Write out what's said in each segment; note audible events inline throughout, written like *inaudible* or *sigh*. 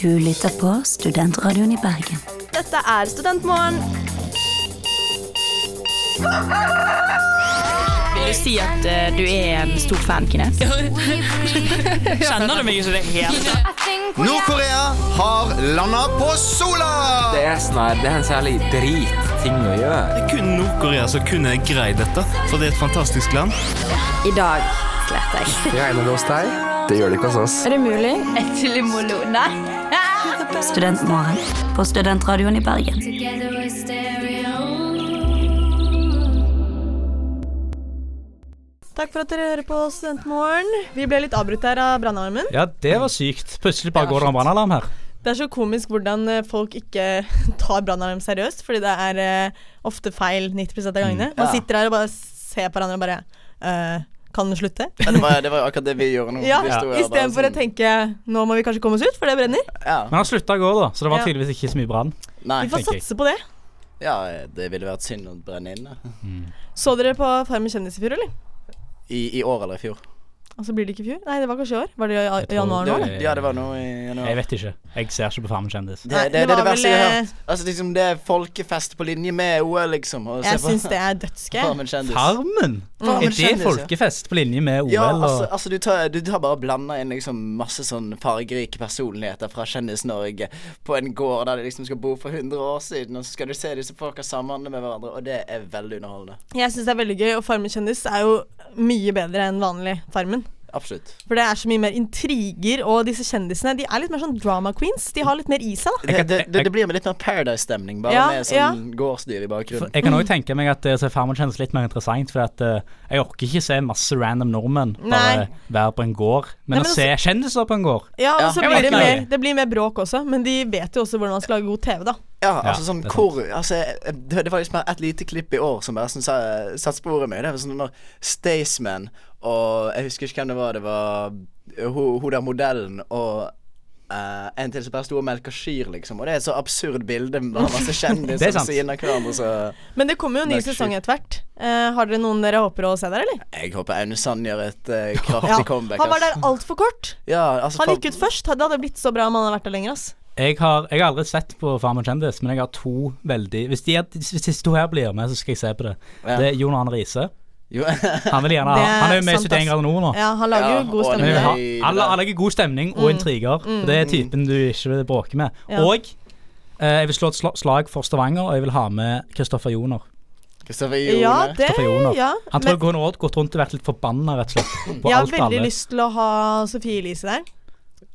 Du lytter på Studentradioen i Bergen. Dette er Studentmorgen. Vil du si at eh, du er en stor fan kines? Kjenner du meg ikke det helt? Nord-Korea har landa på sola! Det er, sånn her, det er en særlig drit ting å gjøre. Det er kun Nord-Korea som kunne greid dette, for det er et fantastisk land. I dag sletter jeg. Regner det hos deg? Det gjør det ikke hos oss. *laughs* Studentmorgen på Studentradioen i Bergen. Takk for at dere hører på Studentmorgen. Vi ble litt avbrutt her av brannalarmen. Ja, det var sykt. Plutselig bare går det en brannalarm her. Det er så komisk hvordan eh, folk ikke *laughs* tar brannalarm seriøst, fordi det er eh, ofte feil 90 av Mm, gangene. Man sitter her og bare ser på hverandre og bare eh, Kan den *laughs* slutte? Ja, det, var, det var jo akkurat det vi gjorde nå. *laughs* Ja, Vi sto her bare Istedenfor å altså. sånn, tenke nå må vi kanskje komme oss ut, for det brenner. Men ja, han slutta i går, da, så det var Ja. tydeligvis ikke så mye brann. Nei, Vi får tenker jeg. satse på det. ja, det ville vært synd å brenne inne. Så dere på Farmen kjendis i fjor, eller? I, I år eller i fjor. Og så blir det ikke i fjor? Nei, det var kanskje i år? Var det i ja- Jeg tror- januar nå? det var- eller? Ja, det var nå i Jeg januar. vet ikke. Jeg ser ikke på Farmen kjendis. Det, det, det, Nei, det er det var verste jeg har vel, hørt. Altså, liksom, det er folkefest på linje med OL, liksom. Og Jeg syns det er dødsgøy. *laughs* Farmen kjendis. Farmen? Farmen Er det kjendis, ja. folkefest på linje med OL Ja, altså, og altså du, tar, du tar bare og blander inn liksom masse sånn fargerike personligheter fra Kjendis-Norge på en gård der de liksom skal bo for 100 år siden, og så skal du se disse folka samhandle med hverandre, og det er veldig underholdende. Jeg syns det er veldig gøy, og Farmen kjendis er jo mye bedre enn vanlig Farmen. Absolutt. For det er så mye mer intriger, og disse kjendisene de er litt mer sånn drama queens. De har litt mer i seg, da. Det, det, det, det blir med litt mer Paradise-stemning, bare Ja, med sånn ja. gårdsdyr i bakgrunnen. Jeg kan òg tenke meg at eh, så Farmen kjennes litt mer interessant, for at, eh, jeg orker ikke se masse random nordmenn Nei. bare være på en gård. Nei, Men, men å se altså- kjendiser på en gård Ja, og Ja, så jeg blir vet det ikke. mer, det blir mer bråk også, men de vet jo også hvordan man skal lage god TV, da. Ja, altså sånn det er hvor altså, jeg- Det det var liksom et lite klipp i år som bare sånn, sa- satte sporet meg. Det var sånn når Staysman og Jeg husker ikke hvem det var. Det var hun hun der modellen og eh, en til som bare sto og melka kyr, liksom. Og det er et så absurd bilde med bare *laughs* masse Det kjendiser er ved sant. siden av hverandre. Så Men det kommer jo en ny Nei, ikke sesong etter hvert. Eh, har dere noen dere håper å se der, eller? jeg håper Aune Sand gjør et eh, *laughs* kraftig comeback. Han var ass. der altfor kort. Ja, altså, Han for- gikk ut først. Det hadde blitt så bra om han hadde vært der lenger, ass. Jeg har, jeg har aldri sett på Farmen kjendis, men jeg har to veldig Hvis, de, er- hvis disse to her blir med, så skal jeg se på det. Ja. Det er Jon Arne Riise. Jo, *laughs* Han, vil gjerne, Det ha- er han er jo med i sant, 71 ass. grader nord nå. Ja, han lager Ja, jo god og Men stemning jeg der. vil ha, Nei, det alle, der. alle liker god stemning og intriger. og Det er typen du ikke vil bråke med. Mm. Ja. Og eh, jeg vil slå et sla- slag for Stavanger, og jeg vil ha med Kristoffer Joner. Kristoffer Ja, Jone. det Kristoffer Joner. ja. Han Men tror jeg går rundt, gått rundt og vært litt forbanna, rett og slett. På jeg har alt og veldig alle. lyst til å ha Sofie Elise der.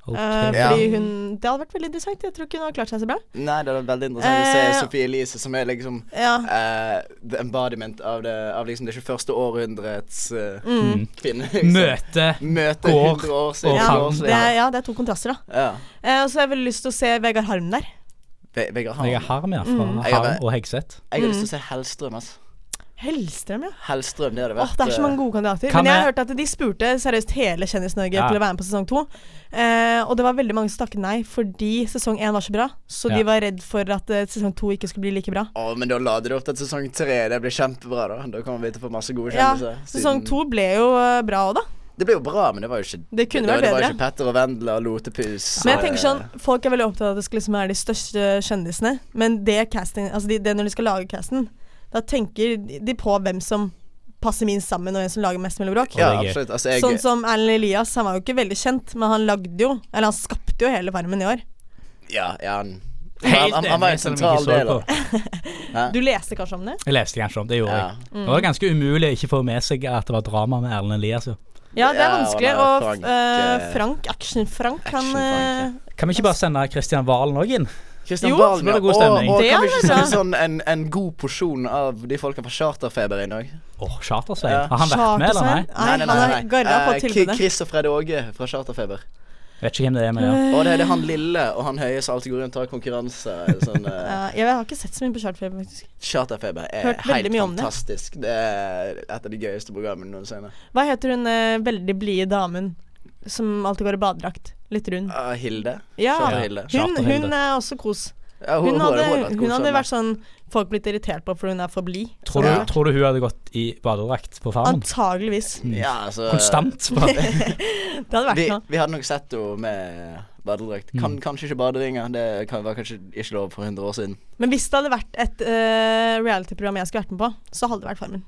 Ok. Eh, Ja. Fordi hun Det hadde vært veldig interessant. Jeg tror ikke hun har klart seg så bra. Nei, det er veldig interessant å se Eh, Sophie Elise, som er liksom Ja. eh, the embodiment av det, av liksom det 21. århundrets eh, Mm. *laughs* kvinne. liksom. Mm. Møte Møte Går 100 år siden. og Ja, Farmen. det er, ja, det er to kontraster, da. Ja. Eh, og så har jeg veldig lyst til å se Vegard Harm der. Ve- Vegard Harm. Jeg Jeg er harm, ja. Fra Mm. Jeg har Harm det. og Hegseth. har lyst til å se Hellstrøm. Altså. Hellstrøm, ja. Hellstrøm, det hadde Åh, vært det er så eh, mange gode kandidater. Kan Men jeg har jeg- hørt at de spurte seriøst hele Kjendis-Norge Ja. til å være med på sesong to. Eh, og det var veldig mange som takket nei fordi sesong én var så bra. Så de Ja. var redd for at eh, sesong to ikke skulle bli like bra. Å, men da lader du opp til sesong tre. Det blir kjempebra, da. Da kommer vi til å få masse gode Ja, kjendiser. sesong siden- to ble jo eh, bra òg, da. Det ble jo bra, men det var jo ikke Det kunne vært det var bedre. jo ikke Petter og Vendela og Lotepus. Men jeg og- tenker sånn, Folk er veldig opptatt av at det skal liksom være de største kjendisene, men det casting, altså de, det når de skal lage casten, da tenker de på hvem som passer minst sammen, og hvem som lager mest mulig bråk. Ja, Å, det er gøy. absolutt. Altså, jeg, Sånn som Erlend Elias, han var jo ikke veldig kjent, men han lagde jo, eller han skapte jo hele Farmen i år. ja, ja, han, han, Helt han, han var en enig, selv sentral om jeg ikke så del av på. Du leste kanskje om det? Jeg leste kanskje om det, gjorde Ja. jeg. Det Mm. var ganske umulig å ikke få med seg at det var drama med Erlend Elias. jo. Ja, det er Ja, vanskelig. og Og han er Frank, eh, eh, Frank, Action-Frank, han eh, Action-Frank, Kan vi ikke bare sende Kristian Valen òg inn? Kristian Jo, Valen, så ble det ja. god stemning. Og, og Det kan vi er ikke det bra. sende sånn en, en god porsjon av de folka fra Charterfeber inn òg? Åh, Chartersveien. Ja. Har han vært med, eller nei? Chartersveien? Nei, han har garra på Eh, Ki- tilbudet. Chris og Fred Åge fra Charterfeber. Vet ikke hvem det er, men ja. Og det er det han lille og han høye som alltid går rundt og tar konkurranse. Sånn, eh, Ja, jeg har ikke sett så mye på Chartfeber, faktisk. Charterfeber er Hørt veldig helt mye om det. fantastisk. Det er et av de gøyeste programmene noensinne. Hva heter hun eh, veldig blide damen som alltid går i badedrakt? Litt rund. Ah, Hilde. Ja, Charterhilde. hun, Charterhilde. hun er også kos. Ja, Hun hadde, vært hun god hadde sånn, vært sånn folk blitt irritert på fordi hun er for blid. Tror du, Ja. tror du hun hadde gått i badedrakt på farmen? Antageligvis. ja, *laughs* altså, Konstant. på- Det hadde vært Vi, noe. vi hadde nok sett henne med badedrakt. Mm. Kan kanskje ikke baderinger. Det kan, var kanskje ikke lov for 100 år siden. Men hvis det hadde vært et eh, reality-program jeg skulle vært med på, så hadde det vært Farmen. Mm.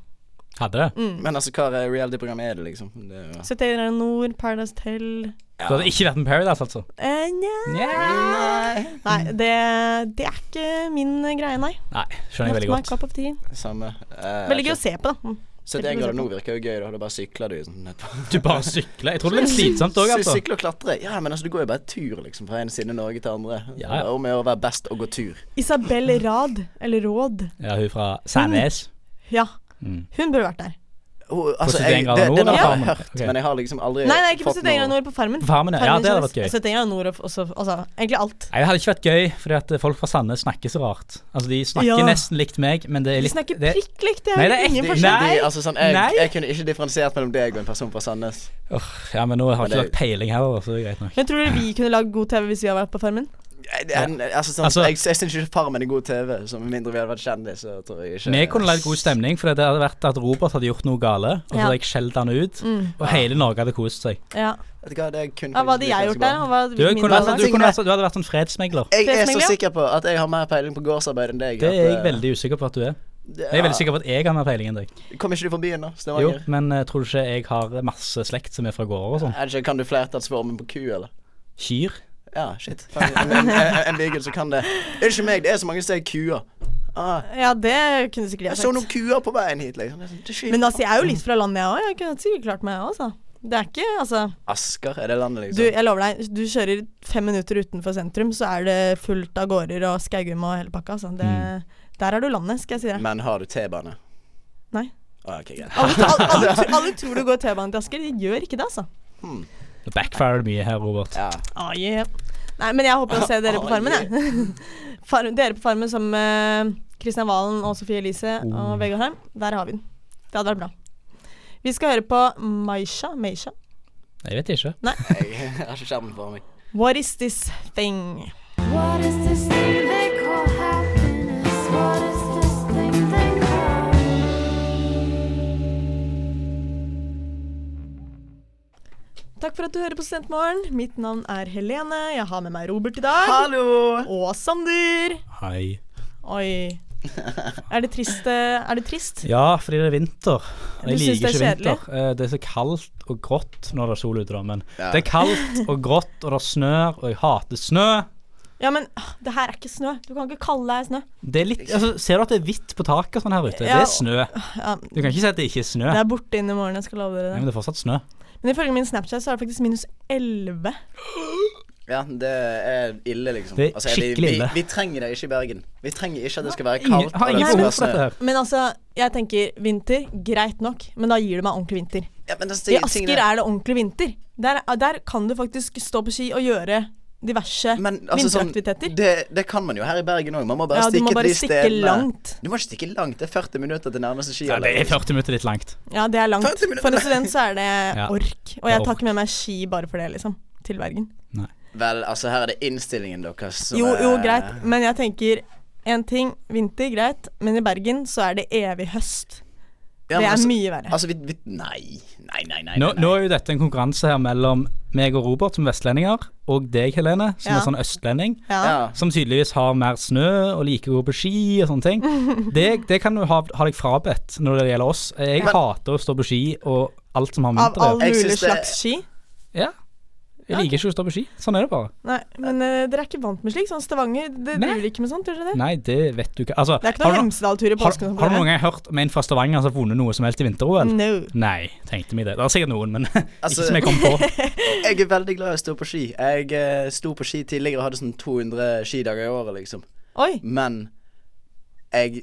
Hadde det? Men altså, hva er reality-program er det, liksom? Det er jo- 71 Nord, Paradise Tell Du hadde ikke vært med Paradise, altså? eh, Nja Nei, det, det er ikke min greie, nei. Nei, skjønner jeg veldig Not my godt. cup of tea. Samme. Eh, Veldig gøy å se på, da. Mm. 71 grader nå virker jo gøy, da. Da bare sykler du sånn *laughs* etterpå. Du bare sykler. Jeg tror det er litt slitsomt òg, Sy- altså. Sykle og klatre. Ja, men altså, du går jo bare tur, liksom, fra ene siden av Norge til andre. Ja, ja. Det er Om å gjøre å være best å gå tur. Isabel Mm. Rad, eller Råd. Ja, hun fra Sandnes. Ja. Mm. Hun burde vært der. Oh, altså, 71 jeg, det, grader nord, det, da, det har jeg Farmen. hørt, Ok. men jeg har liksom aldri Nei, nei, ikke på fått 71 grader Nord, på Farmen. På Farmen, ja. Ja, det hadde vært gøy. 71 grader Nord, og også, altså, egentlig alt. Nei, det hadde ikke vært gøy, fordi at folk fra Sandnes snakker så rart. Altså, de snakker Ja. nesten likt meg, men det De er litt snakker det- prikk likt, det Nei, er det er ingen ekte- De, forskjell. Nei. de, altså, sånn, jeg, Nei. jeg kunne ikke differensiert mellom deg og en person fra Sandnes. Åh, Ja, men nå har Men ikke det- dere peiling heller, så det er greit nok. Men tror dere vi kunne lagd god TV hvis vi hadde vært på Farmen? Jeg, jeg, altså, sånn, Altså- jeg, jeg syns ikke Farmen er god TV, så med mindre vi hadde vært kjendis, så tror jeg ikke Vi kunne lagd god stemning, for det hadde vært at Robert hadde gjort noe gale, og så Ja. Mm. hadde jeg skjelt han ut, og hele Norge hadde kost seg. Ja. Vet du hva, det kunne ja hva faktisk hadde blitt jeg ganske gjort bra. der? og Hva hadde Du, min kunne rolle vært, vært? du, kunne vært, så- du hadde vært en fredsmegler. Jeg er så Fredsmegler? sikker på at jeg har mer peiling på gårdsarbeid enn deg. Det er jeg at, eh, veldig usikker på at du er. det- Jeg er veldig sikker på at jeg har mer peiling enn deg. ja. Kom ikke du fra byen, da? Jo, Stavanger? men eh, tror du ikke jeg har masse slekt som er fra gårder og sånn? Er det ikke, kan du flertallsformen på ku, eller? Kyr? Ja, shit. Faen, *laughs* En, en, en, en beagle som kan det. Unnskyld meg, det er så mange steder kuer. Ah, Ja, det kunne sikkert jeg jeg så noen sagt. kuer på veien hit, liksom. Det er sånn, det er sjukt. Men altså, jeg er jo litt fra landet, jeg òg. Jeg kunne sikkert klart meg, jeg også. Det er ikke Altså, Asker, er det landet, du, liksom? jeg lover deg, du kjører fem minutter utenfor sentrum, så er det fullt av gårder og Skaugum og hele pakka. Altså. Det, Mm. Der er du landet, skal jeg si deg. Men har du T-bane? Nei. Ah, ok, greit. Alle, alle, alle, *laughs* tro- alle tror du går T-banen til Asker, de gjør ikke det, altså. Det backfired mye her, Robert. Ja. Ah, yeah. Nei, men jeg håper å se dere på Ah, Farmen, jeg. *laughs* Far, dere på Farmen som eh, Kristian Valen og Sofie Elise og Oh. Vegard Heim. Der har vi den. Det hadde vært bra. Vi skal høre på Maisha. Maisha. Jeg vet ikke. Jeg *laughs* har ikke skjermen for meg. What is this thing? What is this thing they call happiness? What is this thing they call? Takk for at du hører på Studentmorgen. Mitt navn er Helene. Jeg har med meg Robert i dag. Hallo! Og Sander. Hei. Oi. Er det trist? eh, Er det trist? Ja, fordi det er vinter. Du Jeg liker synes det er ikke vinter. Eh, Det er så kaldt og grått når det er sol ute, da, men Ja. det er kaldt og grått, og det snør, og jeg hater snø. Ja, men ah, det her er ikke snø. Du kan ikke kalle det snø. Det er litt, altså, ser du at det er hvitt på taket og sånn her ute? Ja. Det er snø. Ja, Du kan ikke si at det ikke er snø. det er borte inn i morgen, jeg skal love dere det. Nei, men det er fortsatt snø. Men ifølge min Snapchat så er det faktisk minus 11. Ja, det er ille, liksom. Det er vi, skikkelig vi, ille. vi trenger det ikke i Bergen. Vi trenger ikke at det skal være Ingen, kaldt. har og det ingen Nei, skal behov være for snø. dette her. Men altså, jeg tenker vinter, greit nok, men da gir du meg ordentlig vinter. Ja, men altså, det, I det, Asker er det ordentlig vinter. Der, der kan du faktisk stå på ski og gjøre diverse men, altså, sånn, vinteraktiviteter. det, det kan man jo her i Bergen òg. Man må bare Ja, du stikke må bare til de stikke stedene. langt. Du må ikke stikke langt. Det er 40 minutter til nærmeste ski. Ja, det er 40 minutter litt langt. ja, det er langt. 50 minutter. For en student så er det *laughs* Ja, ork. Og det er jeg tar ikke med meg ski bare for det, liksom. Til Bergen. Vel, altså, her er det innstillingen deres som Jo, jo, er- greit. Men jeg tenker én ting. Vinter, greit. Men i Bergen så er det evig høst. Ja, men det er altså- mye verre. Altså, vi, vi Nei. Nei, nei, nei. Nå, nei, nei. nå er jo dette en konkurranse her mellom meg og Robert som vestlendinger, og deg, Helene, som Ja. er sånn østlending. ja. ja. Som tydeligvis har mer snø og liker å gå på ski og sånne ting. Det, det kan du ha, ha deg frabedt når det gjelder oss. Jeg hater å stå på ski og alt som har med Av vinter å all gjøre. Jeg mulig synes det- slags ski. Ja. Jeg liker ikke å stå på ski. Sånn er det bare. Nei, men eh, dere er ikke vant med slik? Sånn Stavanger det Nei. driver ikke med sånt, gjør dere det? Nei, det vet du ikke. Altså, Det er ikke har, noen du, Hemsedal-tur i har, påsken. har du noen gang hørt om en fra Stavanger som har vunnet noe som helst i vinter-OL? No. Nei, tenkte vi det. Det er sikkert noen, men *laughs* Altså- ikke som jeg kom på. Jeg er veldig glad i å stå på ski. Jeg eh, sto på ski tidligere og hadde sånn 200 skidager i året, liksom. Oi. Men jeg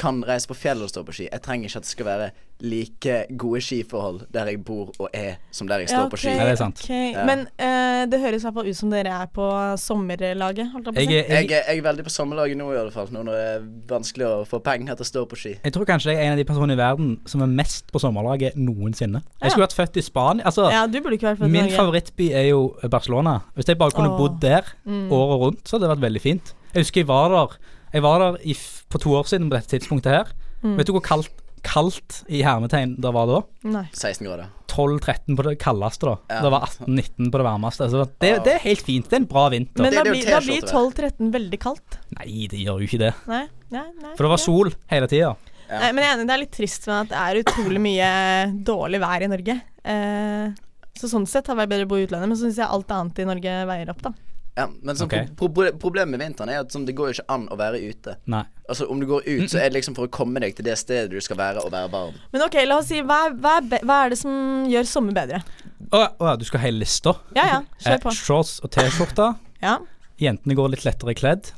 kan reise på fjellet og stå på ski. Jeg trenger ikke at det skal være like gode skiforhold der jeg bor og er, som der jeg Ja, står på ok, ski. Ja, det er sant. ok. Men eh, det høres i hvert fall ut som dere er på sommerlaget. Holdt jeg på å Jeg, si. er- Jeg, jeg, er- jeg er veldig på sommerlaget nå, i alle fall. Nå når det er vanskelig å få penger til å stå på ski. jeg tror kanskje jeg er en av de personene i verden som er mest på sommerlaget noensinne. Jeg skulle vært født i Spania. Altså, Ja, du burde ikke vært født i Min Norge. favorittby er jo Barcelona. Hvis jeg bare Åh. Mm. kunne bodd der året rundt, så hadde det vært veldig fint. Jeg husker jeg var der Jeg var der i, f- på to år siden Mm. på dette tidspunktet her. Vet du hvor kaldt, kaldt i hermetegn det var da? Nei. 16 grader. 12-13 på det kaldeste, da. Det var 18-19 på det varmeste. Så det, det er helt fint. Det er en bra vinter. Men da blir, da blir 12-13 veldig kaldt. Nei, det gjør jo ikke det. Nei, nei, nei. For det var sol hele tida. Nei, men jeg er enig, det er litt trist med at det er utrolig mye dårlig vær i Norge. Eh, så sånn sett har det vært bedre å bo i utlandet, men så syns jeg alt annet i Norge veier opp, da. Ja, men sånn, Ok. pro pro problemet med vinteren er at sånn, det går jo ikke an å være ute. Nei. Altså Om du går ut, så er det liksom for å komme deg til det stedet du skal være, og være varm. Men ok, la oss si, hva er, hva er, be hva er det som gjør sommer bedre? Å å ja, du skal ha hele lista. Ja ja, Eh, kjør på. shorts og T-skjorte. Ja. Jentene går litt lettere kledd.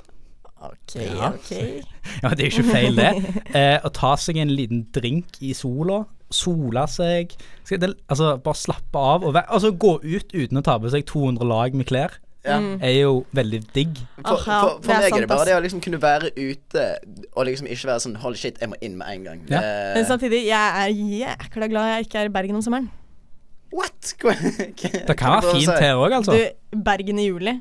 Ok, Ja. ok. Ja, det er jo ikke feil, det. Eh, å ta seg en liten drink i sola. Sola seg. Skal det, altså, bare slappe av. Og væ- altså, gå ut uten å ta på seg 200 lag med klær. Ja. Er jo veldig digg. For, Aha, for, det for er meg sant, er det bare ass. det å liksom kunne være ute og liksom ikke være sånn Hold shit, jeg må inn med en gang. Ja. Eh, Men samtidig, jeg er jækla glad jeg ikke er i Bergen om sommeren. what? *laughs* Hva- hva- Det kan hva være fint si? her òg, altså. Du, Bergen i juli.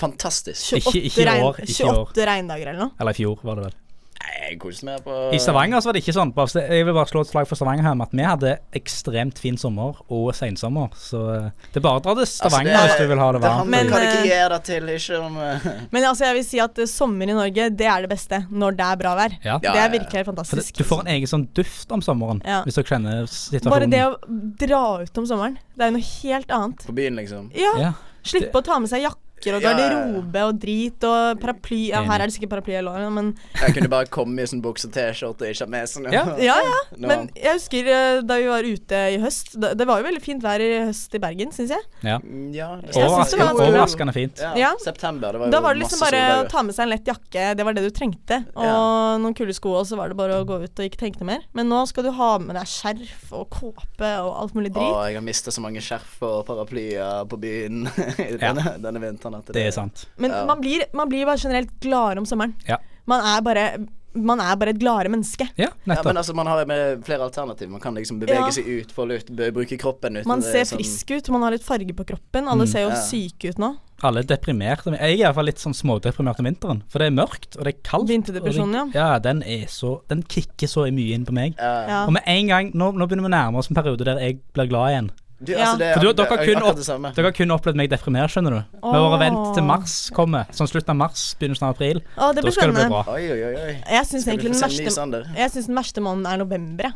Fantastisk. 28, Ikke- ikke i regn- år, ikke i år. 28 regndager eller noe. Eller i fjor, var det vel. Nei, Jeg koser meg på I Stavanger så var det ikke sånn. Bare- Jeg vil bare slå et slag for Stavanger her med at vi hadde ekstremt fin sommer og sensommer. Så eh, det er bare å dra til Altså, Stavanger det- hvis du vil ha det Det varmt. handler Men, om hva du eh, gleder deg til, ikke om eh, *laughs* Men altså, jeg vil si at eh, sommer i Norge, det er det beste. Når det er bra vær. Ja. Ja, Det ja, ja. er virkelig helt For det, fantastisk. du får en egen sånn duft om sommeren Ja. hvis dere kjenner situasjonen. Bare det å dra ut om sommeren, det er jo noe helt annet. på byen, liksom. Ja, ja. Slippe å ta med seg jakker og Ja, ja, ja. garderobe og drit og paraply. Ja, her er det sikkert paraply i låret, men Jeg kunne bare komme i sånn bukse og T-skjorte og ikke ha med sånn Ja. Ja, ja. Nå- Men jeg husker eh, da vi var ute i høst. da- Det var jo veldig fint vær i høst i Bergen, syns jeg. ja. ja, synes det- det var Overraskende, ganske- overraskende fint. Ja, Ja. September, det var jo Da var det liksom masse bare å soldager. ta med seg en lett jakke, det var det du trengte. Og Ja. noen kule sko, og så var det bare å gå ut og ikke tenke noe mer. Men nå skal du ha med deg skjerf og kåpe og alt mulig Å, drit. jeg har mista så mange skjerf og paraplyer på byen *laughs* denne, denne vinteren. At Det er sant. Men ja. man blir, man blir bare generelt gladere om sommeren. Ja. Man er bare, man er bare et gladere menneske. Ja, Ja, men nettopp. altså, man har jo med flere alternativ. Man kan liksom bevege Ja. seg ut, få luft, b- bruke kroppen uten Man det sånn- ser som- frisk ut, man har litt farge på kroppen. Alle ser jo Ja. syke ut nå. Alle er deprimerte. Jeg er i hvert fall litt sånn smådeprimert om vinteren. For det er mørkt, og det er kaldt. Vinterdepresjon, og det, ja. Den er så Den kicker så mye inn på meg. Ja. Og med en gang Nå, nå begynner vi å nærme oss en periode der jeg blir glad igjen. Du, Ja. altså, det, er- For du, det dere, er har kun akkurat opp, det samme. dere har kun opplevd meg deprimert, skjønner du. Vi har bare vent til mars kommer. Sånn slutten av mars, begynnelsen av april. Å, det Da blir skal det bli spennende. bra. Oi, oi, oi. oi. Jeg syns egentlig Skal du få den se en ny verste Sander? Jeg syns den verste måneden er november. jeg.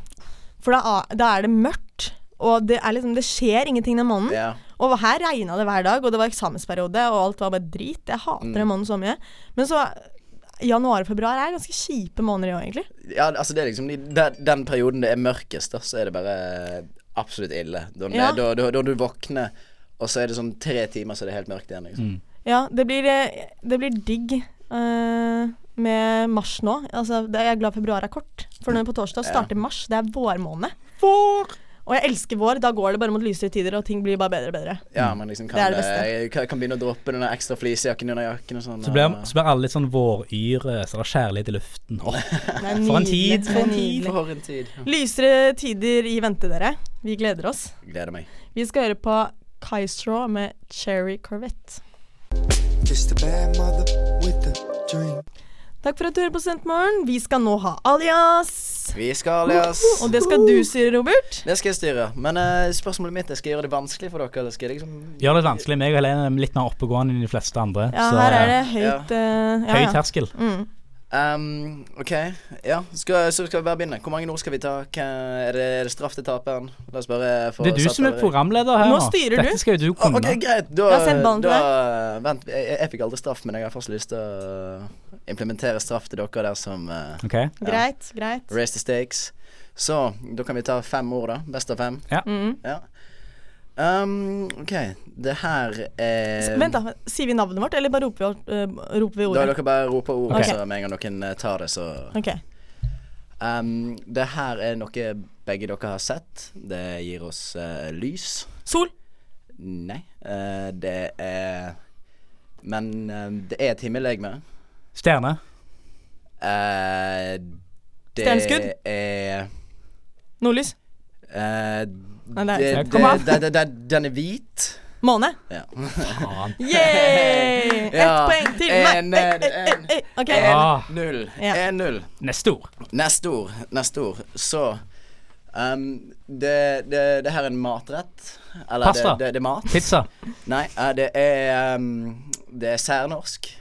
For da, er- da er det mørkt, og det, er liksom, det skjer ingenting den måneden. Ja. Og her regna det hver dag, og det var eksamensperiode, og alt var bare drit. Jeg hater den Mm. måneden så mye. Men så Januar og februar er ganske kjipe måneder i år, egentlig. ja, altså, det er liksom de, den, den perioden det er mørkest, da, så er det bare eh, absolutt ille. Da, Ja. da, da, da du våkner, og så er det sånn tre timer, så er det helt mørkt igjen. Mm. Liksom. Ja, det blir, eh, det blir digg eh, med mars nå. Altså, det, jeg er glad februar er kort, for nå på torsdag starter mars. Det er vårmåned. Vår! Og jeg elsker vår. Da går det bare mot lysere tider, og ting blir bare bedre og bedre. Ja, man liksom kan, Det er det beste. eh, kan, kan begynne å droppe den der ekstra fleecejakken under jakken og sånn. Så blir, og- så blir alle litt sånn våryre, så det er kjærlighet i luften. Åh, Det er For en nydelig. tid, Det er nydelig. For en tid. Lysere tider i vente, dere. Vi gleder oss. Gleder meg. Vi skal høre på Kaistraw med Cherry Corvette. Takk for at du hører på Studentmorgen. Vi skal nå ha Alias. Vi skal, Elias. Og det skal du si, Robert. Det skal jeg styre. Men eh, spørsmålet mitt er skal jeg gjøre det vanskelig for dere. Eller skal jeg liksom Gjør det litt vanskelig. Meg og Helene er litt mer oppegående enn de fleste andre. Ja, så her er det eh, høyt eh, ja, høy ja. terskel. Ehm, OK. Ja, skal, så skal vi bare begynne. Hvor mange ord skal vi ta? Hva, er, det, er det straff til taperen? La oss bare få Det er du satt som er det- programleder her Nå nå. styrer du. Dette skal jo du Å, kunne. Ah, OK, greit. Da, Jeg har sendt ballen til da Vent, jeg, jeg fikk aldri straff, men jeg har først lyst til å implementere straff til dere der som eh, Ok. Greit, greit. raise the stakes. Så da kan vi ta fem ord, da. Best av fem. Ja. Mm. Ja. Ehm, OK. Det her er Vent, da. Sier vi navnet vårt, eller bare roper vi, eh, roper vi Da er ordet? dere bare roper ord, Ok. så med en gang noen eh, tar det, så Ok. um, Det her er noe begge dere har sett. Det gir oss eh, lys. Sol. Nei. eh, det er Men eh, det er et himmellegeme. Stjerne. Eh, det Stjerneskudd? er Nordlys. eh, Nei, det er- det, Kom det, an. det, det, det, den er hvit. Måne. Ja. Yay! Ett *laughs* Ja. poeng til En, meg. en, Eh, eh, eh, eh. Ok. Ah. Null. Ja. En null. Neste ord. Neste ord, neste ord, så Um, det, det, det her er en matrett. Eller Pasta. Det, det, det er mat. Pizza. Nei, eh, det er um, Det er særnorsk.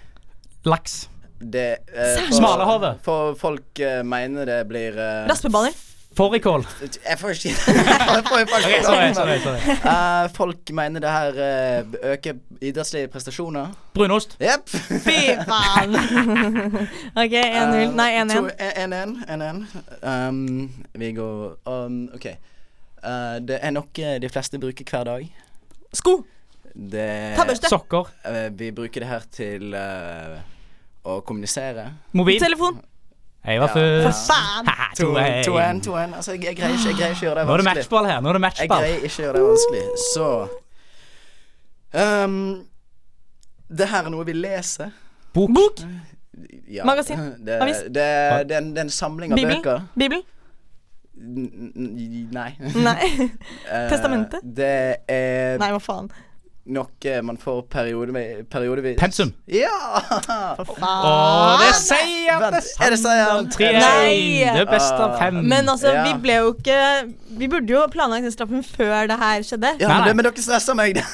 Laks. Det eh, Særnorsk? for- Smalahove. For folk eh, mener det blir eh, Raspeballer. Fårikål. Jeg får ikke *laughs* Jeg får- jeg får ikke- Ok, sorry, sorry, sorry. Eh, Folk mener det her eh, øker idrettslige prestasjoner. Brunost. Jepp. Fy *laughs* faen. OK, Eh, 1-0. Nei, 1-1. 1-1. 1-1. Um, vi går um, OK. Eh, det er noe de fleste bruker hver dag. Sko. Det Tannbørste. Sokker. Eh, vi bruker det her til eh, å kommunisere. Mobil. Telefon. Jeg var Ja. først. Faen. Haha, 2-1, 2-1. 2-1. Altså, jeg, jeg, greier ikke, jeg greier ikke å gjøre det Nå er det vanskelig. matchball her. Nå er det Jeg matchball. greier ikke å gjøre det vanskelig, så Ehm, Det her er noe vi leser. Bok. Ja, Magasin. *laughs* Det, Avis. det, det, er, en, det er en samling av bøker. Bibelen. Bibelen. N- n- Nei. Nei. *laughs* *laughs* Eh, Testamentet? Det er Nei, hva faen. noe man får periode, periodevis. Pensum. Ja! Og det er seier! Vent, er det seieren? 3-1. Nei. Det beste av fem. Men altså, Ja. vi ble jo ikke Vi burde jo planlagt den straffen før det her skjedde. Ja, Nei, men, nei. det- men dere stresser meg. *laughs*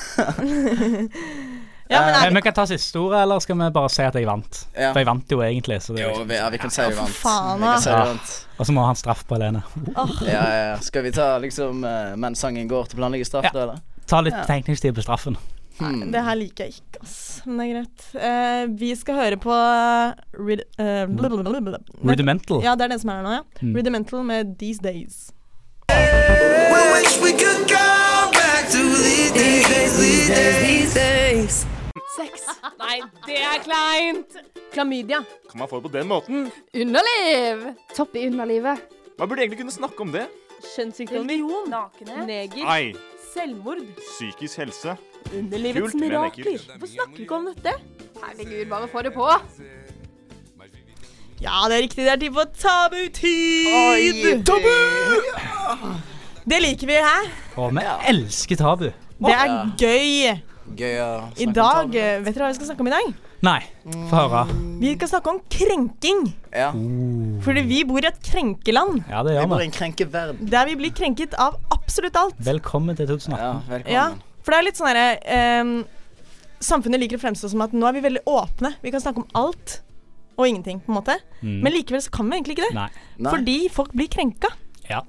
Ja, men Eh, er Vi kan ta siste ordet, eller skal vi bare si at jeg vant? Ja. For jeg vant jo egentlig, så det jo, vi, ja, vi kan si vi vant. faen, vi kan da. si vi Ja. vant. Og så må han straff på alene. Ja, ja, ja. Skal vi ta liksom eh, mens sangen går til planlegge straff, Ja. da, eller? Ta litt tenkningstid på straffen. Hmm. Det her liker jeg ikke, ass. Men det er greit. Eh, vi skal høre på Rid... eh, blablabla. Rudimental. Ja, det er den som er her nå, ja. Rudimental med These Days. *laughs* Nei, det er kleint! Klamydia. Kan man få det på den måten? Underliv. Topp i underlivet. Man burde egentlig kunne snakke om det. Kjønnssykdommer. Neger. Nei. Selvmord. Psykisk helse. Underlivets Kult, men mirakler. ekkelt. Hvorfor snakker vi ikke om dette? Herregud, bare få det på. Ja, det er riktig. Det er tid for tabutid! Tabu! Det liker vi, hæ? Og vi elsker tabu. Det er gøy. Gøy å snakke I om dag tall. eh, Vet dere hva vi skal snakke om i dag? Nei, få Mm. høre. Vi skal snakke om krenking. Ja. Fordi vi bor i et krenkeland. Ja, det Vi gjør bor i vi. en krenkeverden. Der vi blir krenket av absolutt alt. Velkommen til 2018. Ja, velkommen. Ja, for det er litt sånn herre ehm, Samfunnet liker å fremstå som at nå er vi veldig åpne. Vi kan snakke om alt og ingenting, på en måte. Men likevel så kan vi egentlig ikke det. Mm. Nei. Nei, Fordi folk blir krenka. Ja.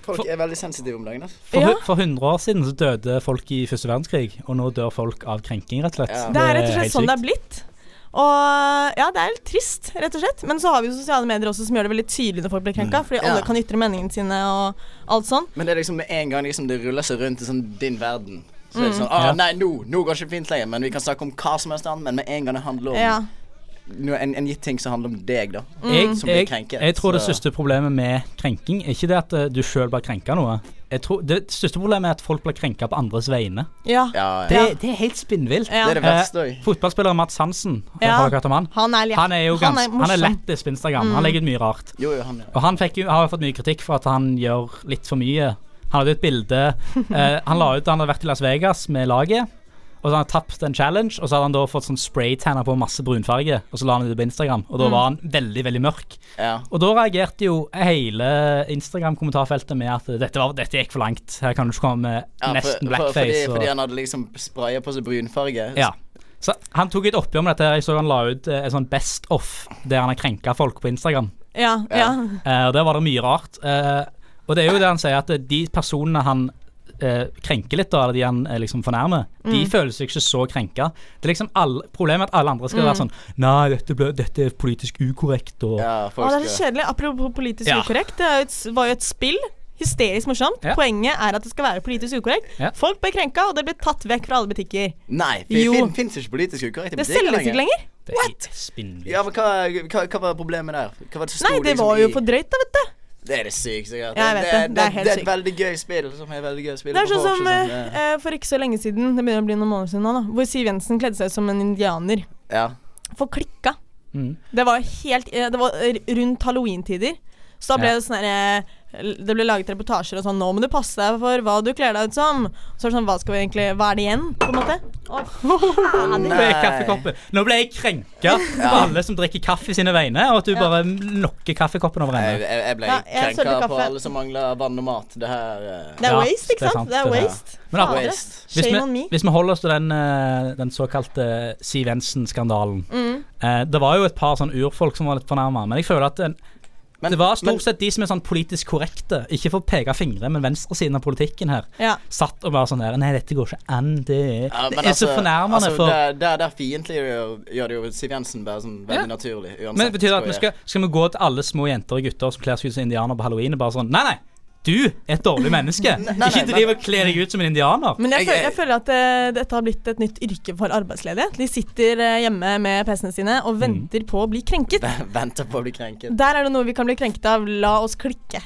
folk er veldig sensitive om dagen. Altså. For, Ja. hu- for 100 år siden så døde folk i første verdenskrig, og nå dør folk av krenking, rett og slett. Ja. Det er rett og helt slett sånn det sykt. er blitt. Og ja, det er litt trist, rett og slett. Men så har vi jo sosiale medier også som gjør det veldig tydelig når folk blir Mm. krenka. Fordi Ja. alle kan ytre meningene sine og alt sånn. Men det er liksom med en gang liksom, det ruller seg rundt i sånn din verden. Så Mm. er det sånn, ah, Ja. Nei, nå, nå går det ikke fint lenger, men vi kan snakke om hva som helst annet. Men med en gang det handler om Ja. Mm. noe- en, en gitt ting som handler om deg, da. Jeg, Som blir jeg, krenket, jeg tror det så- største problemet med krenking er ikke det at eh, du sjøl blir krenka noe. Jeg tror, det største problemet er at folk blir krenka på andres vegne. ja. Ja, Det, ja. det er helt spinnvilt. Det ja. er det verste Eh, òg. fotballspiller Mats Hansen, eh, Ja. har dere hørt om han? Han er, Han er jo han ganske, han er morsom. Mm. lettis på Instagram. Han legger ut mye rart. Jo, jo, han er Og han fikk jo, har jo fått mye kritikk for at han gjør litt for mye. Han hadde *laughs* et bilde eh, Han la ut da han hadde vært i Las Vegas med laget. Og så hadde han tapt en challenge, og så hadde han da fått sånn spraytanner på masse brunfarge. Og så la han det ut på Instagram, og da Mm. var han veldig, veldig mørk. Ja. Og da reagerte jo hele Instagram-kommentarfeltet med at dette, var, dette gikk for langt. Her kan du ikke komme med Ja, for- nesten for, fordi, blackface. fordi og, han hadde liksom spraya på seg brunfarge. ja. Så han tok et oppgjør med dette. her. Jeg så han la ut eh, en sånn Best Off der han har krenka folk på Instagram. Ja, ja. Eh, Og der var det mye rart. Eh, og det er jo det han sier, at de personene han eh, krenker litt, da, eller de han eh, liksom fornærmer, de Mm. føler seg ikke så krenka. Det er liksom alle, Problemet er at alle andre skal Mm. være sånn Nei, dette, ble, dette er politisk ukorrekt og Ja, Å, folk det er så skal- kjedelig. Apropos politisk Ja. ukorrekt. Det er jo et, var jo et spill. Hysterisk morsomt. Ja. Poenget er at det skal være politisk ukorrekt. Ja. Folk ble krenka, og det ble tatt vekk fra alle butikker. Nei, for Jo. det fin- fins ikke politisk ukorrekt i Det butikker selges ikke lenger. Det er spinnvilt. Ja, men hva, hva, hva var problemet der? Hva var det som Nei, sto det liksom var jo i- for drøyt, da, vet du. Det er det sykeste jeg har hørt. Ja, jeg vet det. Det er helt det er sykt. et veldig gøy spill som er veldig gøy å spille Det er på sånn folk, som sånn, eh, eh, eh, for ikke så lenge siden, det begynner å bli noen måneder siden nå, da, hvor Siv Jensen kledde seg som en indianer. Ja. For klikka. Mm. Det var helt eh, Det var eh, rundt halloween-tider. Så da ble Ja. det sånn herre det ble laget reportasjer og sånn 'Nå må du passe deg for hva du kler deg ut som'. Så er det sånn, hva skal vi egentlig Hva er det igjen, på en måte? Å, Nå ble jeg kaffekoppen. Nå ble jeg krenka på alle som drikker kaffe i sine vegne, og at du Ja. bare knocker kaffekoppen over Jeg, ende. jeg, jeg ble Ja, jeg krenka sølte på kaffe. alle som mangler vann og mat. Det her eh, Det er Ja, waste, ikke det er sant? sant, Det er det er- waste. Men Fader. Waste. Hvis Shame on vi, me. hvis vi holder oss til den, eh, den såkalte Siv Jensen-skandalen Mm. eh, Det var jo et par sånn urfolk som var litt fornærma, men jeg føler at eh, Men- det var men- stort sett de som er sånn politisk korrekte, ikke for å peke fingre, men venstresiden av politikken her, Ja. satt og var sånn her Nei, dette går ikke an. Det, er- Ja, men det er så fornærmende altså, for Der, der, der fiendtlig gjør, gjør det jo Siv Jensen bare sånn veldig naturlig. Uansett, Men betyr det at tror vi jeg. skal, skal vi gå til alle små jenter og gutter som kler seg ut som indianere på halloween og bare sånn Nei, nei! Du er et dårlig menneske. *laughs* nei, ikke men- driv og kle deg ut som en indianer. Men jeg, Jeg- føler, jeg føler at eh, dette har blitt et nytt yrke for arbeidsledige. De sitter eh, hjemme med PC-ene sine og Mm. venter på å bli krenket. *laughs* Venter på å bli krenket. Der er det noe vi kan bli krenket av. La oss klikke.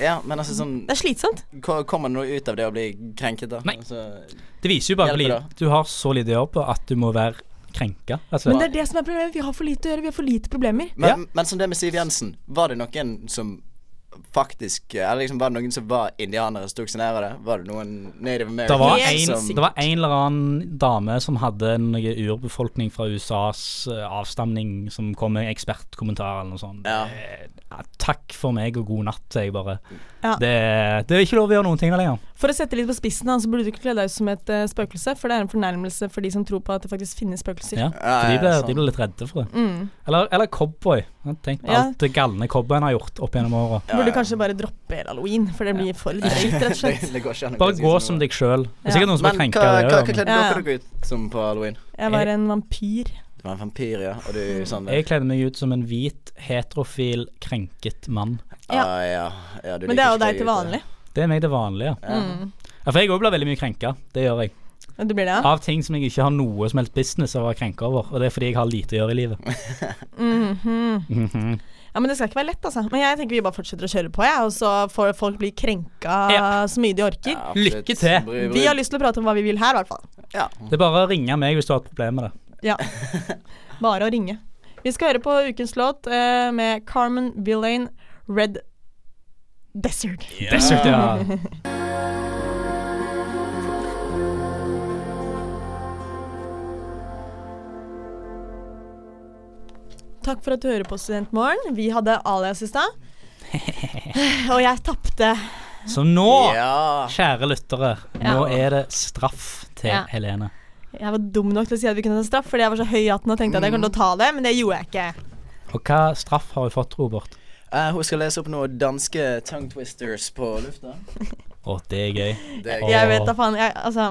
Ja, men altså sånn Det er slitsomt. ko- Kommer det noe ut av det å bli krenket, da? Nei. Altså, Det viser jo bare Hjelper at det? li- du har så lite å gjøre på at du må være krenka. rett og slett. Men det er det som er problemet. Vi har for lite å gjøre. Vi har for lite problemer. men, Ja. men som det med Siv Jensen, var det noen som faktisk Eller liksom, var det noen som var indianere som tok seg nær av det? Var det noen native Det var, americans en, som det var en eller annen dame som hadde noe urbefolkning fra USAs eh, avstamning som kom med en ekspertkommentar eller noe sånt. Ja. Eh, ja, takk for meg og god natt, sier jeg bare. Ja. Det, det er ikke lov å gjøre noen ting der lenger. For å sette litt på spissen, da, så burde du ikke kle deg ut som et eh, spøkelse. For det er en fornærmelse for de som tror på at det faktisk finnes spøkelser. Ja. Ja, For de ja, ble, sånn. de ble litt redde for det. Mm. Eller, eller cowboy. Jeg tenkte Ja. alt det galne cowboyen har gjort opp gjennom åra. Burde kanskje bare droppe halloween, for det blir for dritt, rett og slett. *laughs* *laughs* det, det går ikke an å Bare si gå noe. som deg sjøl. Det er Ja. sikkert noen som Men blir hva, krenka. av hva, det, hva ja, kledde Ja. dere dere ut som på halloween? Jeg var en vampyr. Du var en vampyr, ja. Og du sånn men Jeg kledde meg ut som en hvit, heterofil, krenket mann. ja. Ah, ja. ja du liker Men det er ikke jo deg til gutter. vanlig. Det er meg det vanlige. Ja. Mm. Ja, for jeg òg blir veldig mye krenka. Det gjør jeg. Du blir det, ja? Av ting som jeg ikke har noe som helst business av å være krenka over. Og det er fordi jeg har lite å gjøre i livet. Mhm. Ja, men Det skal ikke være lett, altså. Men jeg tenker vi bare fortsetter å kjøre på, jeg. Og så får folk bli krenka Ja. så mye de orker. Ja, absolutt. Lykke til. Bry- Vi bry- har lyst til å prate om hva vi vil her, i hvert fall. Ja. Det er bare å ringe meg hvis du har et problem med det. *laughs* Bare å ringe. Vi skal høre på ukens låt eh, med Carmen Villain, 'Red Desert'. Dessuten, ja. Takk for at du hører på Studentmorgen. Vi hadde alias i *laughs* stad. Og jeg tapte. Så nå, Ja. kjære lyttere, nå er det straff til Ja. Helene. Jeg var dum nok til å si at vi kunne ta straff, fordi jeg var så høy i hatten og tenkte at jeg kom til å ta det, men det gjorde jeg ikke. Og hva straff har hun fått, Robert? Eh, hun skal lese opp noen danske tongue twisters på lufta. Å, det er gøy. Det Åh. Jeg vet da faen. Jeg, altså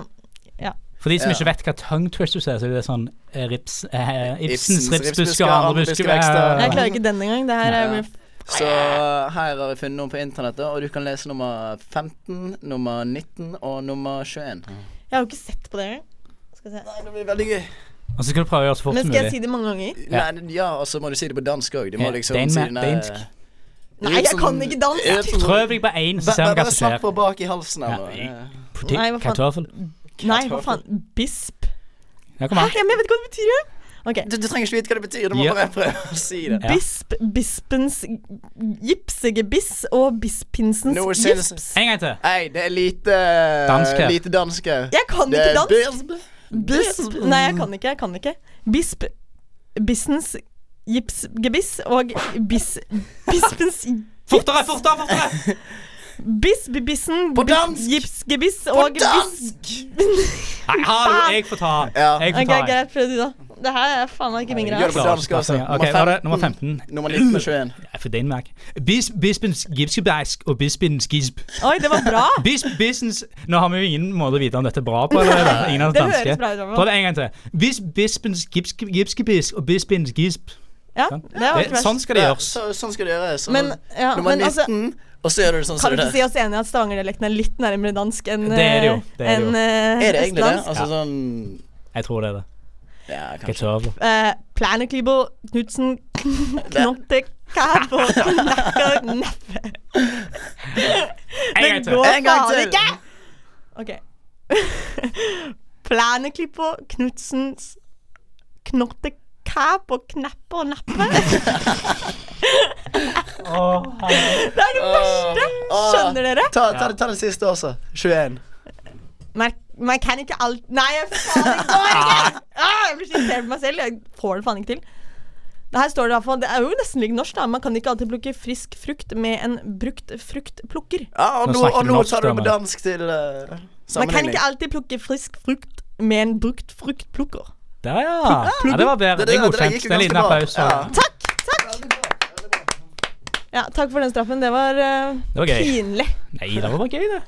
For de som Ja. ikke vet hva tongue twisters er, så er det sånn eh, rips, eh, Ibsens Ibsens ripsbusker ripsbusker, og andre andre buskevekster. Jeg buskevekster. klarer ikke den engang. Det her er Nei. mye Så her har jeg funnet noen på internettet, og du kan lese nummer 15, nummer 19 og nummer 21. Jeg har jo ikke sett på det engang. Skal vi se. Det blir veldig gøy. Og så skal du prøve å gjøre det så fort Men som skal jeg mulig. si det mange ganger? Ja. Nei, ja, og så må du si det på dansk òg. Du må Ja, liksom den si er den der- dansk. Nei, jeg kan ikke Ja, dansk! sånn- Prøv deg på én, så Bare- ser vi hva Bare som snakk skjer. på bak i halsen her nå. Ja. Ja. Potet- Nei, hva faen. Kartoffel. Nei, hva faen. Bisp. Ja, kom Hæ? an. Ja, men Jeg vet ikke hva det betyr, jeg. Ok. Du, du trenger ikke vite hva det betyr, du må Ja. bare prøve å si det. Ja. Bisp, bispens gipsegebiss og bisppinsens Noe sinnes- gips. En gang til. Nei, det er lite Dansk her. Lite dansk her. Jeg kan Det ikke er dansk. bisp. Bisp. Nei, jeg kan ikke. jeg kan ikke Bisp, bissens gipsgebiss og bis, bispens Fortere, fortere, fortere! Bisp, bissen, På dansk! gipsgebiss og bis... *laughs* Nei, hallo, jeg får ta den. Ja. Jeg Ok, får ta den. greit, prøv du, da. Det her er faen meg ikke min Gjør det greie. på dansk også. Ok, Nummer nå er det 15. nummer 15. Nummer 19 og 21. Ja, For Danmark. Bis, bispens gipsgebæsk og bispens gisp. Oi, det var *laughs* bra! Bis, bisens Nå har vi jo ingen måte å vite om dette er bra på. Eller, er det? ingen av det det danske. høres bra ut, i hvert fall. Prøv det en gang til. Bis, bispens gipske- gipsgebiss og bispens gisp. Ja, Sant? Ah, det var ikke Det, verst. sånn skal det Ja, gjøres. så, sånn skal det gjøres. Så Men, ja, nummer men altså- 19, og så gjør du det sånn Kan som vi det ikke si oss enige i at stavangerdialekten er litt nærmere dansk enn Det er det jo, eh, det er det jo. enn, eh, Er det egentlig det? østlandsk? Altså Ja. sånn Jeg tror det er det. Ja, kanskje. Kartoffel. Eh, Planeklybo, Knutsen, *laughs* Knotte, Kabo, Knakka, Neppe En Det gang til. går En gang faen til. ikke! Ok. *laughs* Planeklybo, Knutsens, *laughs* Knotte, Kabo, Kneppe og Neppe. Det er det verste! Skjønner dere? Ta, ta, ta den siste også. 21. Man, man kan ikke alt Nei, jeg faen ikke orker ikke! Ah, Jeg blir så irritert på meg selv. Jeg får det faen ikke til. Det her står det i hvert fall Det er jo nesten litt norsk, da. Man kan ikke alltid plukke frisk frukt med en brukt fruktplukker. Ja, og Nå nå, snakker og vi nå norsk, tar du da, men- med dansk til eh, Man kan sammenligning. ikke alltid plukke frisk frukt med en brukt fruktplukker. Der, ja. ja. Det var bedre. Det er godkjent. Det er en liten applaus. for- Takk! Takk! Ja, takk for den straffen. Det var, eh, Det var gøy. pinlig. Nei, det var bare gøy, det.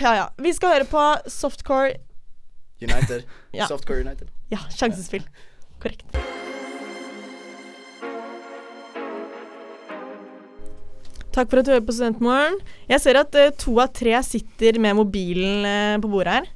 Ja, ja. Vi skal høre på softcore United. *laughs* Ja. Softcore United. Ja, sjansespill. Korrekt. Takk for at du hører på Studentmorgen. Jeg ser at eh, to av tre sitter med mobilen eh, på bordet her.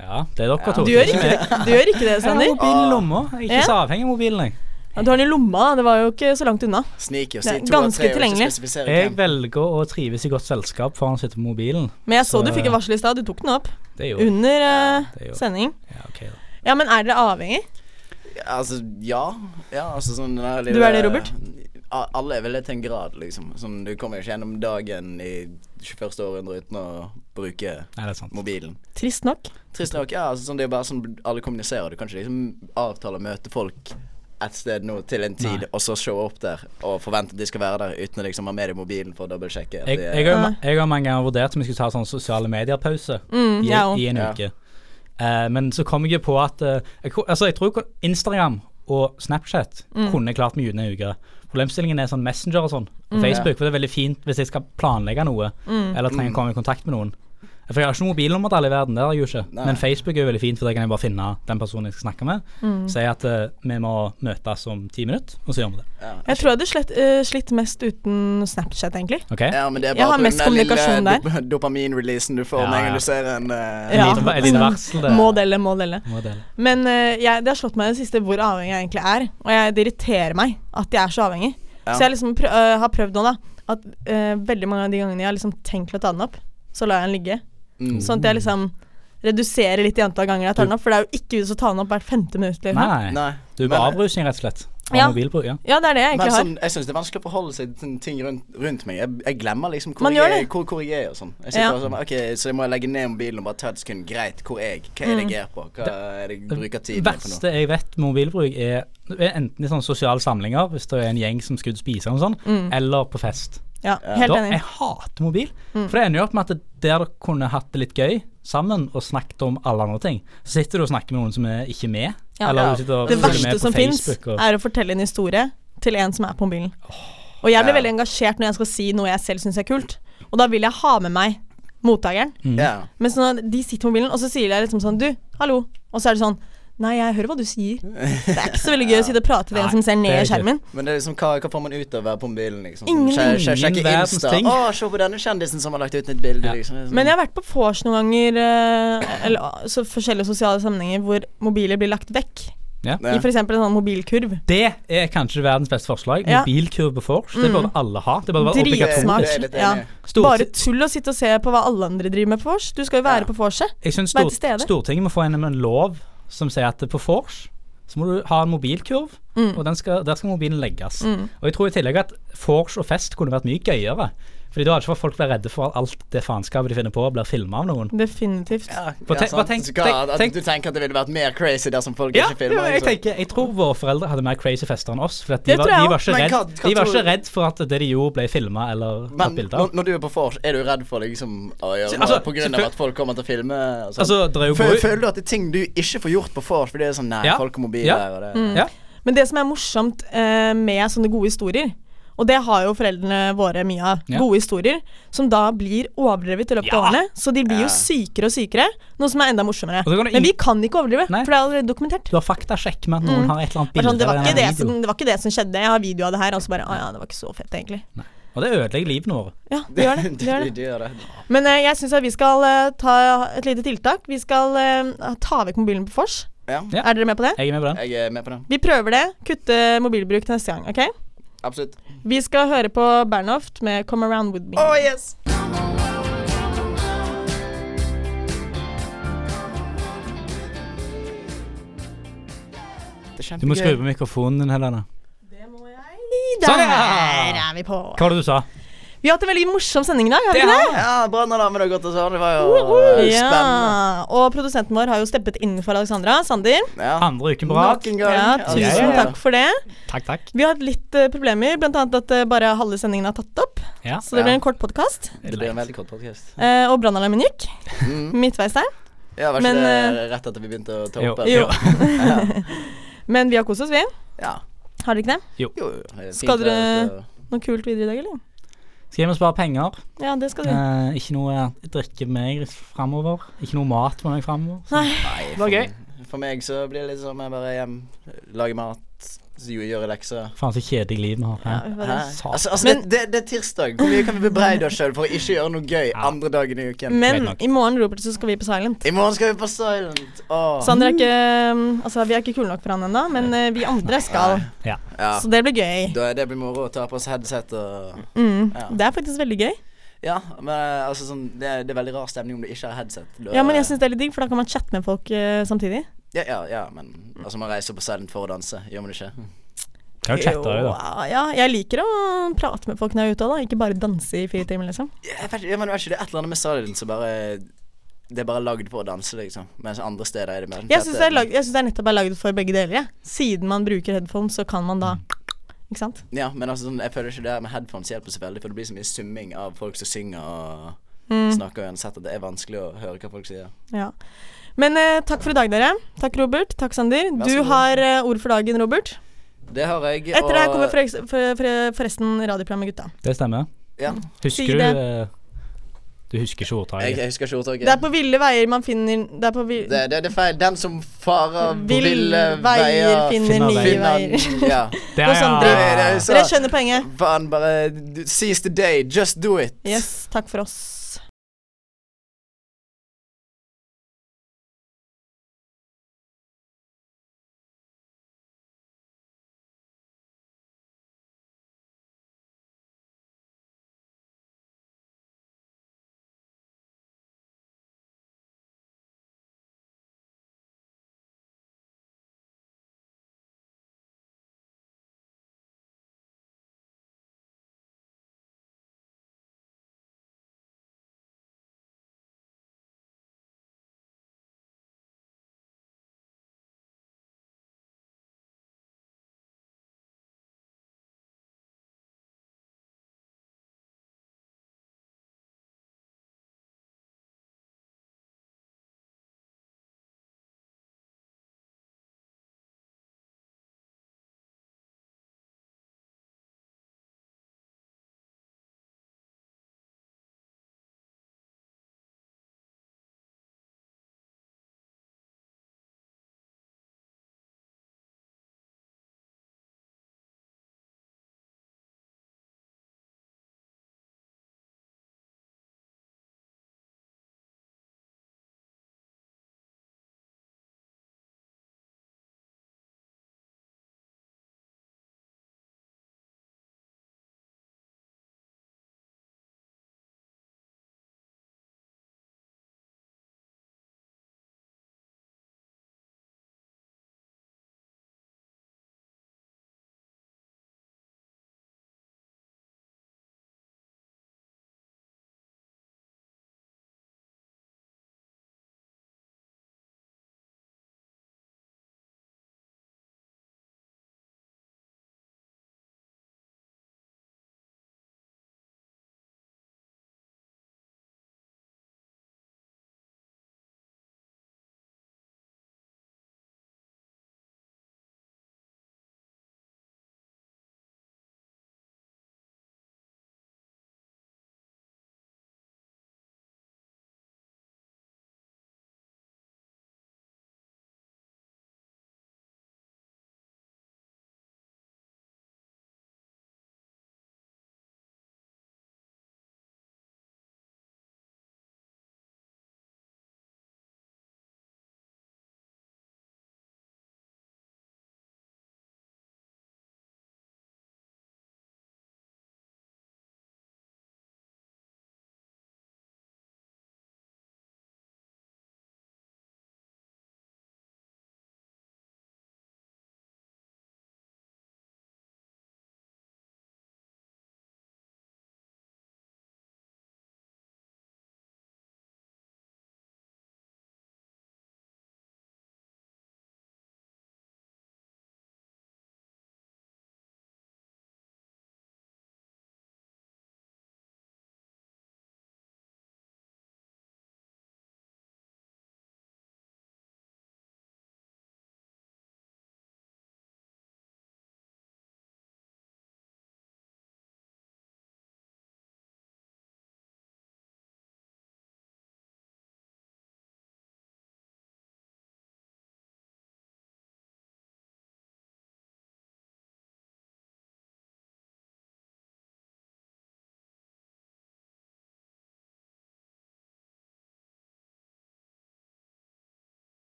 Ja, det er dere to. Du gjør ikke det, du gjør ikke det Jeg Sander. *laughs* har mobilen i lomma. Jeg er ikke Ja. så avhengig av mobilen, jeg. Ja, du har den i lomma, da. det var jo ikke så langt unna. Sniker og Det er sier to av ganske tre og ikke tilgjengelig. spesifisere Jeg hvem. velger å trives i godt selskap foran å sitte på mobilen. Men jeg så, Så- du fikk et varsel i stad, du tok den opp Det er jo under eh, det er jo- sending. Ja, ok da. Ja, men er dere avhengig? Ja, Altså, ja. ja altså, sånn, den her Du er det, Robert? A- Alle er vel det til en grad, liksom. Sånn, du kommer ikke gjennom dagen i 21. århundre uten å bruke Nei, det er sant. mobilen. Trist nok. Trist nok, ja. Altså, sånn, det er bare sånn alle kommuniserer. Du kan ikke liksom avtale å møte folk et sted nå til en tid, og så showe opp der og forvente at de skal være der uten å liksom ha med deg mobilen for å dobbeltsjekke. at Jeg, de er- jeg, har, jo ma- jeg har mange ganger vurdert om jeg skulle ta sånn sosiale medier-pause Mm, i, jeg òg. i en Ja. uke. Eh, men så kom jeg jo på at eh, jeg, ko- Altså, jeg tror ko- Instagram og Snapchat Mm. kunne jeg klart meg uten en uke. Problemstillingen er sånn Messenger og sånn, og Mm. Facebook. For det er veldig fint hvis jeg skal planlegge noe, eller trenger å komme i kontakt med noen. For jeg har ikke noe mobilnummer til alle i verden, det har jeg jo ikke. Nei. Men Facebook er jo veldig fint, for der kan jeg bare finne den personen jeg skal snakke med. Mm. Si at eh, vi må møtes om ti minutter, og så gjør vi det. ja. Jeg tror jeg hadde slett, eh, slitt mest uten Snapchat, egentlig. Ok? Ja, men det er Jeg har bare på mest den kommunikasjon lille der. dop *laughs* dopamin-releasen du får Ja, med en ja. gang du ser en eh, Ja. Et lite- Et lite varsel, det. Må dele, må dele. Må dele. Men eh, jeg, det har slått meg i det siste hvor avhengig jeg egentlig er. Og jeg, det irriterer meg at jeg er så avhengig. Ja. Så jeg liksom prø øh, har prøvd nå, da. At øh, veldig mange av de gangene jeg har liksom tenkt å ta den opp, så lar jeg den ligge. Mm. Sånn at jeg liksom reduserer litt i antall ganger jeg tar den opp. For det er jo ikke vits å ta den opp hvert femte minutt. Liksom. Nei. Nei. Du er på avrusning, rett og slett. Av Ja. mobilbruk, ja. Ja, det er det jeg Men egentlig har. sånn, jeg syns det er vanskelig å forholde seg til ting rundt, rundt meg. Jeg, jeg glemmer liksom hvor Man gjør jeg, det. hvor, hvor jeg er og sånn. Jeg Ja. sitter bare sånn, ok, Så jeg må legge ned mobilen og bare ta et sekund. Greit, hvor er jeg? Hva er det Mm. jeg er på? Hva er det jeg bruker Det tid på nå? verste jeg vet med mobilbruk, er er enten i sånne sosiale samlinger, hvis det er en gjeng som skal ut og spise, eller noe sånt, eller på fest. sånn- Ja, Mm. helt da, enig. Mm. jeg hater mobil. For det ender jo opp med at der dere kunne hatt det litt gøy sammen og snakket om alle andre ting, så sitter du og snakker med noen som er ikke med. Ja. Eller du sitter og Det følger verste med på som fins, Facebook. Og, er å fortelle en historie til en som er på mobilen. Og jeg blir veldig engasjert når jeg skal si noe jeg selv syns er kult. Og da vil jeg ha med meg mottakeren. Ja. Men så når de sitter på mobilen, og så sier jeg liksom sånn Du, hallo. Og så er det sånn Nei, jeg hører hva du sier. Det er ikke så veldig gøy å sitte og prate til en som ser ned det i er ikke- skjermen. Men det er liksom, hva, hva får man ut av å være på mobilen? Liksom? Sånn, Ingen- sjekke- sjekke- sjekke Ingen verdens Insta. ting. Å, se på denne kjendisen som har lagt ut et bilde. Ja. Liksom. Det er sånn- Men Mm. jeg har vært på vors noen ganger, eh, eller ah, så forskjellige sosiale sammenhenger, hvor mobiler blir lagt vekk. ja. Ja. I f.eks. en sånn mobilkurv. Det er kanskje verdens beste forslag. Ja. Mm. Mobilkur på vors. Det burde alle ha. Det burde være Drit- obligatorisk. Smart. Det er jeg litt Ja. enig i. Stort- Bare tull å sitte og se på hva alle andre driver med på vors. Du skal jo være Ja. på vorset. Jeg syns Vær til Stor stede. Stortinget må få en, en lov som sier at på vors så må du ha en mobilkurv, Mm. og den skal, der skal mobilen legges. Og jeg tror i tillegg at vors og fest kunne vært mye gøyere. Fordi da hadde ikke folk vært redde for at alt det faenskapet de finner på, blir filma av noen. Definitivt. Ja, For ja, tenk- sant. bare tenk- Så hva- at tenk- du tenker at det ville vært mer crazy dersom folk Ja, ikke det, filmer? jeg, liksom. tenker, jeg tror våre foreldre hadde mer crazy fester enn oss. For at de, Det var, tror jeg de, også. var Men ikke redd, hva- hva de var tror ikke du- redd for at det de gjorde, ble filma eller tatt Men bilde når, av. når du er på vors, er du redd for liksom, å gjøre Så, noe altså, på grunn selvføl- av at folk kommer til å filme? Og sånn? Altså, det er jo Føl, gode- føler du at det er ting du ikke får gjort på vors fordi det er sånn nei, Ja. folk har mobil Ja. Mm, der og det Ja. Men det som er morsomt eh, med sånne gode historier og det har jo foreldrene våre mye av. Ja. Gode historier som da blir overdrevet i løpet av Ja. årene. Så de blir jo sykere og sykere, noe som er enda morsommere. Og så kan du ing- Men vi kan ikke overdrive, Nei. for det er allerede dokumentert. Du har faktasjekk med at noen har et eller Det, annet bilde. er sånn, det, var eller ikke en det, video. som, det var ikke det som skjedde. Jeg har video av det her. Og så bare Å ja, det var ikke så fett, egentlig. Og det ødelegger livene våre. Ja, det *laughs* gjør *laughs* det. det, gjør det. Du gjør det. Men eh, jeg syns at vi skal eh, ta et lite tiltak. Vi skal eh, ta vekk mobilen på vors. Ja. Ja. Er dere med på det? Jeg er med på den. Jeg er med på det. Vi prøver det. Kutte mobilbruk til neste gang, OK? Absolutt. Vi skal høre på Bernhoft med 'Come Around With Me'. Oh, yes! Du må skru på mikrofonen din, Helene. Det må jeg. Sånn, Der ja. er vi på. Hva var det du sa? Vi har hatt en veldig morsom sending i dag, har vi Det ikke har det? Ja, brannalarmen har gått og sånn. Det var jo eh, spennende. Ja, og produsenten vår har jo steppet inn for Alexandra. Sander. Ja. Andre uken på Nok rad. en gang. Ja, Ja, ja, tusen ja. takk for det. Takk, takk. Vi har hatt litt eh, problemer, bl.a. at eh, bare halve sendingen er tatt opp. Ja. Så det blir en kort podkast. Det blir en veldig kort podcast Eh, og brannalarmen gikk. *laughs* Midtveis der. Ja, var ikke Men, eh, det rett etter vi begynte å ta Jo. opp? Jo. eller? Men vi har kost oss, vi. Ja. Har dere ikke det? Jo, jo. det er fint Skal dere- å- Noe kult videre i dag, eller? Skal hjem og spare penger. Ja, det skal du. Eh, ikke noe drikke med meg framover. Ikke noe mat med meg framover. Nei, var for, gøy. for meg så blir det litt sånn jeg bare hjem, lager mat, så gjør- gjør lekser. Faen, så kjedelig liv vi har Ja, her. vi Hæ? bare- Sa- Altså, altså det, det, det er tirsdag. Hvor mye kan vi bebreide oss sjøl for å ikke gjøre noe gøy andre dagen i uken? Greit Men nok. i morgen, Robert, så skal vi på Silent. I morgen skal vi på Silent. Åh. Sander er ikke um, Altså, vi er ikke kule nok for han ennå, men eh, vi andre skal. Ja. Så det blir gøy. Da er det blir moro å ta på oss headset og Mm. Ja. Det er faktisk veldig gøy. Ja, men eh, altså sånn Det, er- det er veldig rar stemning om du ikke har headset. Da- Ja, men jeg syns det er litt digg, for da kan man chatte med folk eh, samtidig. ja, ja, ja, men altså man reiser på Silent for å danse, gjør man ikke? Kan jo chatte òg, da. Jo, ah, Ja, jeg liker å prate med folk når jeg er ute òg, da. Ikke bare danse i fire timer, liksom. Jeg vet, ikke- ja, men vet ikke, det er et eller annet med Silent som bare Det er bare lagd for å danse, liksom. Mens andre steder er det mer Jeg syns det, er lag- jeg synes det er nettopp er lagd for begge deler, jeg. Siden man bruker headphones, så kan man da Ikke sant? Ja, men altså sånn, jeg føler ikke det her med headphones hjelper så veldig, for det blir så mye summing av folk som synger og Mm. snakker uansett at det er vanskelig å høre hva folk sier. Ja. Men eh, takk for i dag, dere. Takk, Robert. Takk, Sander. Du har eh, ord for dagen, Robert. Det har jeg, Etter det her kommer og foreks- for- for- forresten radioprogrammet Gutta. Det stemmer. Ja. Husker Si du det. eh, Du husker ikke jeg, ordtaket? jeg husker ikke ordtaket. Det er på ville veier man finner Det er på vi- Det, det, det er feil. Den som farer på Vill ville veier veier finner finner nye finner- veier. Ja. Det noe sånt Det er det ja. jeg sa. Dere skjønner poenget. Faen, bare Seize the day. Just do it. Yes. Takk for oss.